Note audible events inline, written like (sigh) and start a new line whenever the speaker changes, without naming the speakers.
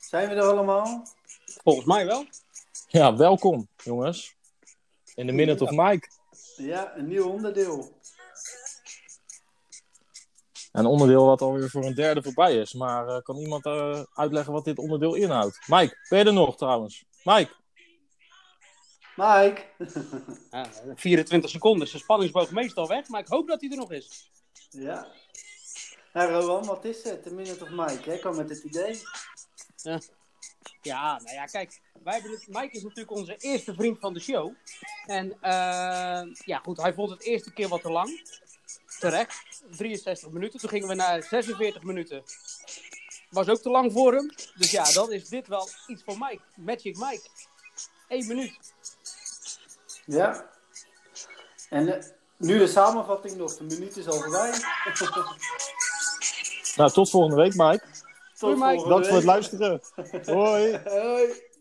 Zijn we er allemaal?
Volgens mij wel.
Ja, welkom jongens. In de Minute of Mike.
Ja, een nieuw onderdeel.
Een onderdeel wat alweer voor een derde voorbij is. Maar eh, kan iemand eh, uitleggen wat dit onderdeel inhoudt? Mike, ben je er nog trouwens? Mike,
Mike? (laughs)
Ja, 24 seconden. Zijn spanningsboog meestal weg, maar ik hoop dat hij er nog is.
ja. Nou, Rowan, wat is het? Een minute of Mike, hè? Kom met het idee.
Ja, nou ja, kijk. Wij hebben het, Mike is natuurlijk onze eerste vriend van de show. En eh, ja, goed, hij vond het eerste keer wat te lang. Terecht. 63 minuten. Toen gingen we naar 46 minuten. Was ook te lang voor hem. Dus ja, dan is dit wel iets voor Mike. Magic Mike. Eén minuut.
Ja. En eh, nu de samenvatting nog. De minuut is al voorbij.
nou tot volgende week Mike.
Tot
Mike.
volgende
Dank voor
week.
het luisteren. Hoi.
Hoi.